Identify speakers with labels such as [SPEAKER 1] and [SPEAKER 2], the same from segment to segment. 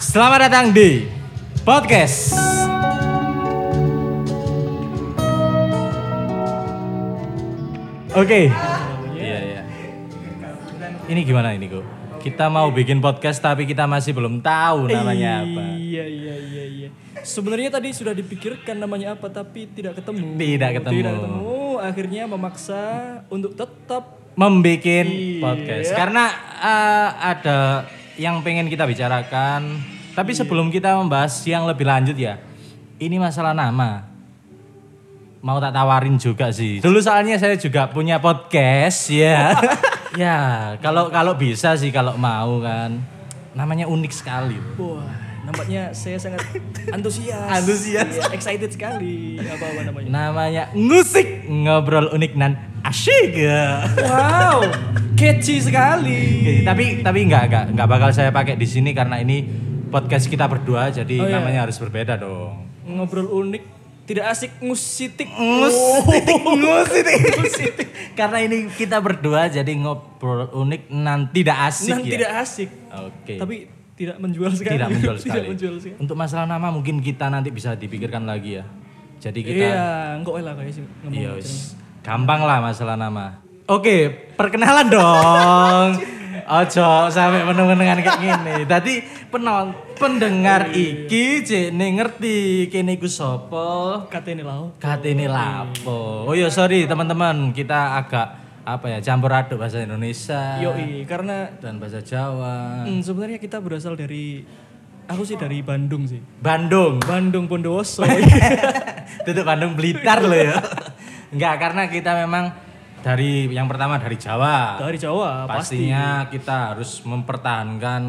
[SPEAKER 1] Selamat datang di podcast. Oke. Iya iya. Ini gimana ini kok? Kita mau bikin podcast tapi kita masih belum tahu namanya apa.
[SPEAKER 2] Iya iya iya iya. Sebenarnya tadi sudah dipikirkan namanya apa tapi tidak ketemu.
[SPEAKER 1] Tidak ketemu.
[SPEAKER 2] Tidak ketemu. Akhirnya memaksa untuk tetap
[SPEAKER 1] Membikin
[SPEAKER 2] Iya.
[SPEAKER 1] podcast karena eh, ada yang pengen kita bicarakan. Tapi sebelum kita membahas yang lebih lanjut ya, ini masalah nama. Mau tak tawarin juga sih. Dulu soalnya saya juga punya podcast ya. ya, kalau kalau bisa sih kalau mau kan. Namanya unik sekali.
[SPEAKER 2] wah nampaknya saya sangat antusias.
[SPEAKER 1] Antusias.
[SPEAKER 2] Iya, excited sekali apa apa namanya.
[SPEAKER 1] Namanya Ngusik Ngobrol Unik dan Asyik.
[SPEAKER 2] Wow, catchy sekali.
[SPEAKER 1] Oke, tapi tapi nggak nggak nggak bakal saya pakai di sini karena ini podcast kita berdua jadi
[SPEAKER 2] Oh, iya.
[SPEAKER 1] namanya harus berbeda dong.
[SPEAKER 2] Ngobrol unik, tidak asik Oh. ngusitik.
[SPEAKER 1] Ngusitik, ngusitik. karena ini kita berdua jadi ngobrol unik nan tidak asik ya.
[SPEAKER 2] Nan Nah, tidak asik.
[SPEAKER 1] Oke.
[SPEAKER 2] Tapi tidak menjual sekali.
[SPEAKER 1] tidak menjual sekali.
[SPEAKER 2] Tidak menjual sekali.
[SPEAKER 1] Untuk masalah nama mungkin kita nanti bisa dipikirkan lagi ya. Jadi kita
[SPEAKER 2] Iya, enggak lah kayak sih ngomong.
[SPEAKER 1] Iya, wis. gampang lah masalah nama. Oke, perkenalan dong. Ojo sampai menengan kayak gini. Tadi penon pendengar iki jene ngerti kene iku sapa,
[SPEAKER 2] Katanya lau.
[SPEAKER 1] katene lapo. Oh iya sorry teman-teman, kita agak apa ya campur aduk bahasa Indonesia
[SPEAKER 2] Yoi, karena
[SPEAKER 1] dan bahasa Jawa.
[SPEAKER 2] Hmm, sebenarnya kita berasal dari aku sih dari Bandung sih.
[SPEAKER 1] Bandung.
[SPEAKER 2] Bandung Bondowoso.
[SPEAKER 1] Tutup Bandung Blitar loh ya. Enggak, karena kita memang dari yang pertama dari Jawa.
[SPEAKER 2] dari Jawa pasti
[SPEAKER 1] pastinya kita harus mempertahankan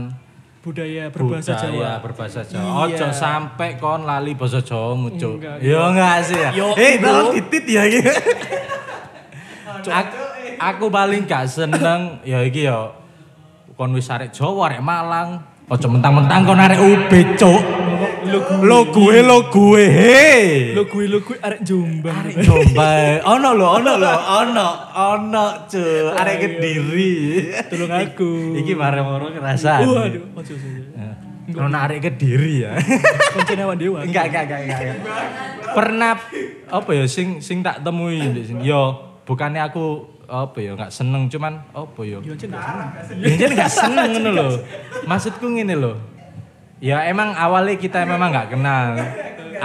[SPEAKER 2] budaya berbahasa Jawa.
[SPEAKER 1] budaya berbahasa Jawa. Ojo sampai kon lali bahasa Jawa muncul.
[SPEAKER 2] Enggak,
[SPEAKER 1] Yo enggak sih ya.
[SPEAKER 2] Yo,
[SPEAKER 1] eh,
[SPEAKER 2] bro.
[SPEAKER 1] tolong titit ya gitu. aku, aku paling gak seneng ya iki yo kon wis arek Jawa arek Malang. Ojo mentang-mentang kon arek UB, cuk. Lo gue lo gue. Hei.
[SPEAKER 2] Lo gue lo gue arek Jombang.
[SPEAKER 1] Arek Jombang. Ono lho, ono lho, ono, ono cuy. Arek Kediri.
[SPEAKER 2] Tolong aku.
[SPEAKER 1] Iki bareng moro kerasa.
[SPEAKER 2] Waduh, ojo ojo, ojo.
[SPEAKER 1] Ono arek Kediri ya.
[SPEAKER 2] Koncene awan dewa.
[SPEAKER 1] Enggak, enggak, enggak, enggak. enggak. Pernah apa ya sing sing tak temui di sini. Yo, bukannya aku apa ya enggak seneng cuman apa ya.
[SPEAKER 2] Yo cen gak seneng.
[SPEAKER 1] Jangan enggak seneng ngono lho. Maksudku ngene lho. Ya emang awalnya kita memang enggak kenal.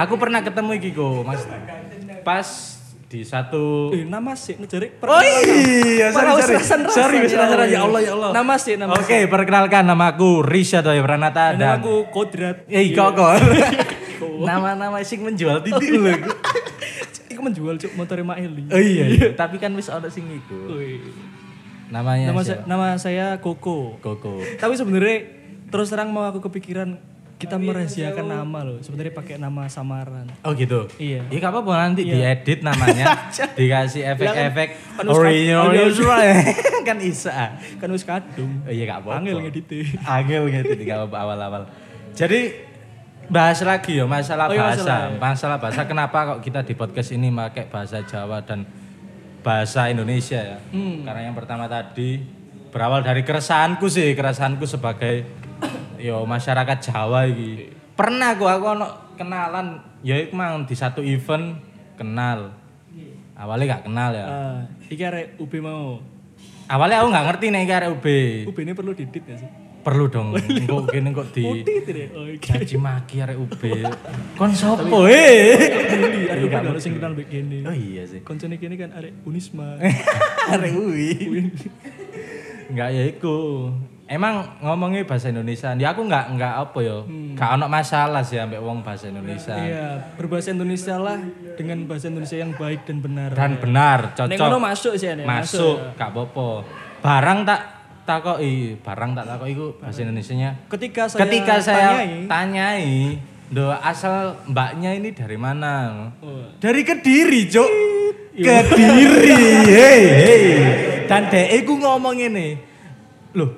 [SPEAKER 1] Aku pernah ketemu iki kok, Mas. Pas di satu
[SPEAKER 2] Eh, nama sih ngejari
[SPEAKER 1] Oh iya,
[SPEAKER 2] Para
[SPEAKER 1] sorry, sorry.
[SPEAKER 2] rasan-rasan.
[SPEAKER 1] Sorry, wis rasan-rasan. ya Allah, ya Allah.
[SPEAKER 2] Nama sih nama.
[SPEAKER 1] Oke, perkenalkan nama aku Risha Dwi Pranata
[SPEAKER 2] Dan
[SPEAKER 1] dan
[SPEAKER 2] aku Kodrat.
[SPEAKER 1] Eh, kokor. Nama-nama sing menjual titik lho. iku.
[SPEAKER 2] Iku menjual cuk motor Mak Eli.
[SPEAKER 1] Oh iya, iya. tapi kan wis ono sing iku.
[SPEAKER 2] Woi.
[SPEAKER 1] Namanya
[SPEAKER 2] Nama saya,
[SPEAKER 1] Iya, siapa?
[SPEAKER 2] nama saya Koko.
[SPEAKER 1] Koko.
[SPEAKER 2] Tapi sebenarnya terus terang mau aku kepikiran kita merahasiakan nama loh. Sebenarnya pakai nama samaran.
[SPEAKER 1] Oh gitu.
[SPEAKER 2] Iya.
[SPEAKER 1] Ya enggak apa-apa nanti diedit namanya, dikasih efek-efek
[SPEAKER 2] Kan wis-
[SPEAKER 1] original
[SPEAKER 2] audio-
[SPEAKER 1] kan bisa.
[SPEAKER 2] Kan wis kadung.
[SPEAKER 1] Oh iya enggak apa-apa.
[SPEAKER 2] Angel ngedit.
[SPEAKER 1] Angel gitu di awal-awal. Jadi bahas lagi ya masalah
[SPEAKER 2] Oh iya,
[SPEAKER 1] bahasa.
[SPEAKER 2] masalah,
[SPEAKER 1] Masalah, bahasa kenapa kok kita di podcast ini pakai bahasa Jawa dan bahasa Indonesia ya?
[SPEAKER 2] Hmm.
[SPEAKER 1] Karena yang pertama tadi berawal dari keresahanku sih, keresahanku sebagai yo masyarakat Jawa iki. Pernah gua aku ono kenalan ya iku mang di satu event kenal. Awalnya gak kenal ya.
[SPEAKER 2] Ah, iki arek UB mau.
[SPEAKER 1] Awalnya aku nggak ngerti nih iki arek UB.
[SPEAKER 2] UB ini perlu didit gak sih?
[SPEAKER 1] Perlu dong, kok gini kok di
[SPEAKER 2] Didit deh. iya. Oh, iki.
[SPEAKER 1] Caci maki arek UB. Kon sopo eh?
[SPEAKER 2] Peduli, arek kan harus kenal baik gini.
[SPEAKER 1] Oh iya sih.
[SPEAKER 2] Koncone kene kan arek Unisma.
[SPEAKER 1] Arek UI. Enggak ya iku. Emang ngomongnya bahasa Indonesia. Ya aku enggak enggak apa ya. Enggak ono masalah sih ambek wong bahasa Indonesia.
[SPEAKER 2] Iya, berbahasa Indonesia lah dengan bahasa Indonesia yang baik dan benar.
[SPEAKER 1] Dan benar,
[SPEAKER 2] Nek ngono
[SPEAKER 1] cocok.
[SPEAKER 2] masuk sih
[SPEAKER 1] iya.
[SPEAKER 2] Nek,
[SPEAKER 1] Masuk, gak apa-apa. Barang tak takoki, barang tak takoki iku bahasa Indonesianya.
[SPEAKER 2] Ketika saya
[SPEAKER 1] Ketika saya
[SPEAKER 2] tanyai,
[SPEAKER 1] tanyai, do asal mbaknya ini dari mana?
[SPEAKER 2] oh,
[SPEAKER 1] Dari Kediri, Cuk.
[SPEAKER 2] Iya.
[SPEAKER 1] Kediri. Hei, hei. Dan dhek ku ngomong ngene. Loh.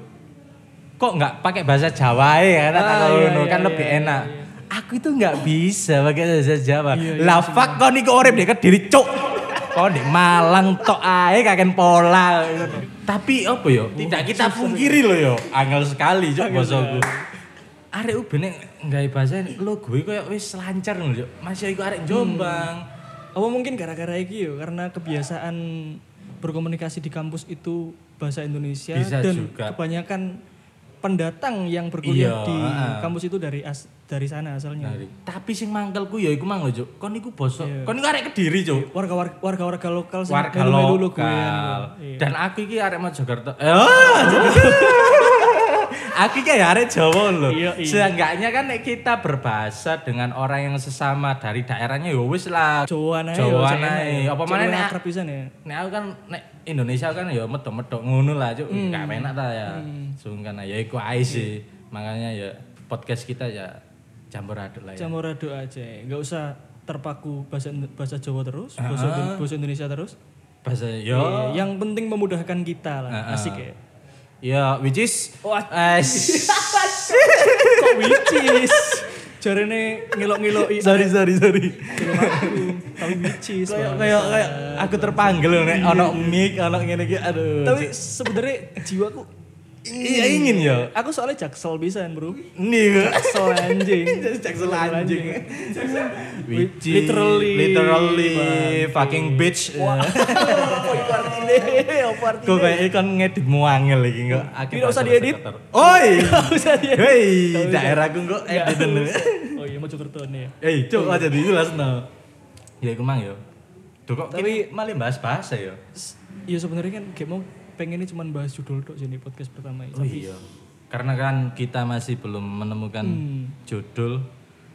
[SPEAKER 1] Kok nggak pakai bahasa Jawa ya? Kata
[SPEAKER 2] Ah,
[SPEAKER 1] tak
[SPEAKER 2] iya,
[SPEAKER 1] ngono,
[SPEAKER 2] iya,
[SPEAKER 1] kan
[SPEAKER 2] iya,
[SPEAKER 1] lebih
[SPEAKER 2] iya,
[SPEAKER 1] enak. Aku itu nggak bisa pakai bahasa Jawa.
[SPEAKER 2] Iya, iya,
[SPEAKER 1] Lah fuck kon iku urip di Kediri, Cuk. Kon di Malang tok ae kakek pola. Tapi apa yo? Tidak kita pungkiri loh yo. Angel sekali, Cuk, bosoku. arek uben nek nggawe bahasa logo iku koyo wis lancar ngono Cuk. Mas ya iku arek
[SPEAKER 2] Hmm.
[SPEAKER 1] Jombang.
[SPEAKER 2] Apa mungkin gara-gara iki yo karena kebiasaan berkomunikasi di kampus itu bahasa Indonesia
[SPEAKER 1] Bisa
[SPEAKER 2] dan
[SPEAKER 1] juga.
[SPEAKER 2] kebanyakan pendatang yang berkuliah
[SPEAKER 1] Iya,
[SPEAKER 2] di
[SPEAKER 1] ah.
[SPEAKER 2] kampus itu dari as, dari sana asalnya.
[SPEAKER 1] Iya. Tapi sing mangkelku ya iku mang lho Cuk. Kon iku bosok. Kon iku arek Kediri Cuk.
[SPEAKER 2] Warga warga warga, warga lokal Iya. sing
[SPEAKER 1] warga
[SPEAKER 2] melu-melu
[SPEAKER 1] lokal.
[SPEAKER 2] logoan gitu. Iya.
[SPEAKER 1] Dan aku iki arek Mojokerto. Eh, oh, aku iki ya arek Jawa lho.
[SPEAKER 2] Iya, iya.
[SPEAKER 1] Seenggaknya kan nek kita berbahasa dengan orang yang sesama dari daerahnya ya wis lah.
[SPEAKER 2] Jawa nae.
[SPEAKER 1] Jawa
[SPEAKER 2] yo,
[SPEAKER 1] nae.
[SPEAKER 2] yo.
[SPEAKER 1] Apa
[SPEAKER 2] Cek
[SPEAKER 1] maneh
[SPEAKER 2] luwih
[SPEAKER 1] nek
[SPEAKER 2] akrab pisan ya.
[SPEAKER 1] nek aku kan nek Indonesia kan ya medok-medok ngono lah cuk.
[SPEAKER 2] Hmm.
[SPEAKER 1] Gak enak ta ya. Sungkan ya iku ae sih. Makanya ya podcast kita ya campur aduk lah ya.
[SPEAKER 2] Camorado aja. Enggak usah terpaku bahasa bahasa Jawa terus, bahasa, Indo- bahasa Indonesia terus.
[SPEAKER 1] Bahasa ya, yo.
[SPEAKER 2] Iya, yang penting memudahkan kita lah. Asik ya.
[SPEAKER 1] Ya, which is
[SPEAKER 2] Wah.
[SPEAKER 1] eh, s-
[SPEAKER 2] Kok wicis? Jarene ngelok-ngeloki.
[SPEAKER 1] sorry sorry sorry.
[SPEAKER 2] film aku. Tapi wicis.
[SPEAKER 1] kayak
[SPEAKER 2] Bang.
[SPEAKER 1] kayak kayak aku terpanggil loh nek ono mic ono ngene iki aduh
[SPEAKER 2] Iya. Tapi sebenarnya jiwaku
[SPEAKER 1] iya ingin ya
[SPEAKER 2] aku soalnya jaksel pisan, Bro.
[SPEAKER 1] nih
[SPEAKER 2] Jaksel anjing.
[SPEAKER 1] jaksel anjing Which is
[SPEAKER 2] Literally.
[SPEAKER 1] literally
[SPEAKER 2] Bang.
[SPEAKER 1] fucking bitch Eh,
[SPEAKER 2] Apa itu artinya? Apa
[SPEAKER 1] kok kayak kan ngedit muangel iki kok Aku
[SPEAKER 2] Tidak usah
[SPEAKER 1] bahasa
[SPEAKER 2] diedit. Iya.
[SPEAKER 1] sekitar. oi
[SPEAKER 2] Nggak usah dia.
[SPEAKER 1] hei daerahku kok edit dulu
[SPEAKER 2] Oh iya, mau cukur ya.
[SPEAKER 1] hei cuk aja di jelas no ya iku mang yo Duh kok
[SPEAKER 2] Iya, Tapi-
[SPEAKER 1] tapi malah bahas bahasa ya
[SPEAKER 2] Ya sebenarnya kan kayak mau pengennya cuma bahas judul tok jadi podcast pertama ini.
[SPEAKER 1] Oh iya. Karena kan kita masih belum menemukan
[SPEAKER 2] Hmm.
[SPEAKER 1] judul.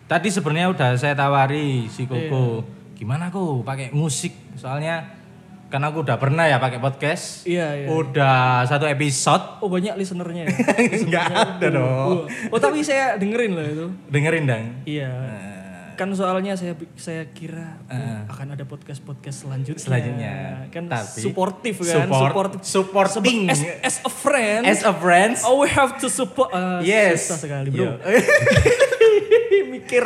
[SPEAKER 1] Tadi sebenarnya udah saya tawari si
[SPEAKER 2] Iya.
[SPEAKER 1] Koko, gimana aku pakai musik? Soalnya karena aku udah pernah ya pakai podcast.
[SPEAKER 2] Iya, iya.
[SPEAKER 1] Udah satu episode.
[SPEAKER 2] Oh banyak listenernya. ya?
[SPEAKER 1] Enggak ada dong.
[SPEAKER 2] oh. oh tapi saya dengerin loh itu.
[SPEAKER 1] Dengerin dang.
[SPEAKER 2] Iya.
[SPEAKER 1] Nah.
[SPEAKER 2] Kan soalnya saya saya kira oh, akan ada podcast podcast selanjutnya.
[SPEAKER 1] Ah. Selanjutnya.
[SPEAKER 2] Kan
[SPEAKER 1] Tapi-
[SPEAKER 2] supportive kan.
[SPEAKER 1] Support-
[SPEAKER 2] Supportive.
[SPEAKER 1] supporting.
[SPEAKER 2] As, as a friend.
[SPEAKER 1] As a friends.
[SPEAKER 2] Oh we have to support. Ah,
[SPEAKER 1] yes.
[SPEAKER 2] Susah sekali bro.
[SPEAKER 1] Iya.
[SPEAKER 2] Mikir.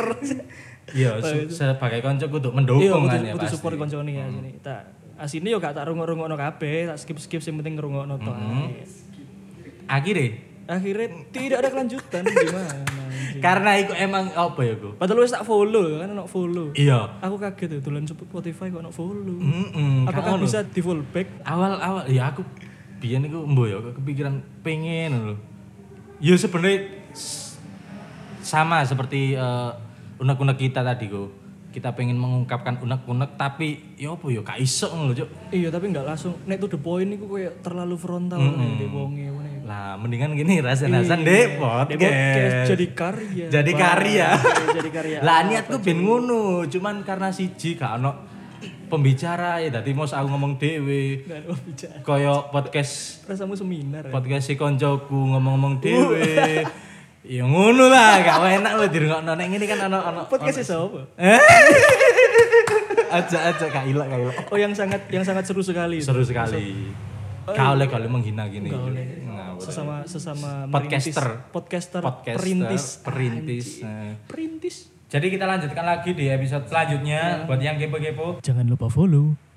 [SPEAKER 1] Iya, se- sebagai konco kudu
[SPEAKER 2] Iya,
[SPEAKER 1] mendukung kan
[SPEAKER 2] butuh,
[SPEAKER 1] ya
[SPEAKER 2] butuh
[SPEAKER 1] pasti.
[SPEAKER 2] support koncone ya sini. Tak asine yo gak tak rungok-rungokno kabeh, tak skip-skip sing penting ngrungokno tok.
[SPEAKER 1] Hmm.
[SPEAKER 2] ae.
[SPEAKER 1] Akhirnya
[SPEAKER 2] Akhirnya tidak ada kelanjutan gimana? anjing.
[SPEAKER 1] karena itu emang apa ya, Go?
[SPEAKER 2] Padahal wis tak follow kan ono follow.
[SPEAKER 1] Iya.
[SPEAKER 2] Aku kaget ya dolan Spotify kok ono follow.
[SPEAKER 1] Mm-mm,
[SPEAKER 2] Apakah
[SPEAKER 1] kan
[SPEAKER 2] bisa di follow back?
[SPEAKER 1] awal-awal ya aku biyen iku mbo ya kepikiran pengen lho. Ya sebenarnya s- sama seperti eh, unek-unek kita tadi kok. Kita pengen mengungkapkan unek-unek tapi ya apa ya gak iso ngono lho, Cuk.
[SPEAKER 2] Iya, tapi nggak langsung nek to the point iku koyo terlalu frontal mm di wonge ngene.
[SPEAKER 1] Lah mendingan gini rasen-rasen deh
[SPEAKER 2] Iya, Podcast
[SPEAKER 1] podcast. Iya.
[SPEAKER 2] jadi karya.
[SPEAKER 1] Jadi
[SPEAKER 2] Wah, iya.
[SPEAKER 1] karya.
[SPEAKER 2] jadi karya.
[SPEAKER 1] Lah niatku ben ngono, cuman karena siji gak ono pembicara ya dadi mos aku ngomong dhewe.
[SPEAKER 2] Dan oh, bicara.
[SPEAKER 1] Koyo podcast
[SPEAKER 2] Rasamu seminar. ya?
[SPEAKER 1] Iya. podcast si koncoku ngomong-ngomong dhewe. ya ngono lah, gak enak lo dirungokno nek ngene kan ono ono
[SPEAKER 2] Podcast sapa?
[SPEAKER 1] aja aja gak ilok gak ilok.
[SPEAKER 2] Oh yang sangat yang sangat seru sekali.
[SPEAKER 1] Seru sekali. Gak oleh kalau menghina gini. Nah,
[SPEAKER 2] Sesama sesama
[SPEAKER 1] Podcaster.
[SPEAKER 2] merintis- podcaster,
[SPEAKER 1] podcaster,
[SPEAKER 2] perintis,
[SPEAKER 1] perintis. Nah.
[SPEAKER 2] perintis.
[SPEAKER 1] Iya. Jadi kita lanjutkan lagi di episode selanjutnya buat yang kepo-kepo.
[SPEAKER 2] Jangan lupa follow.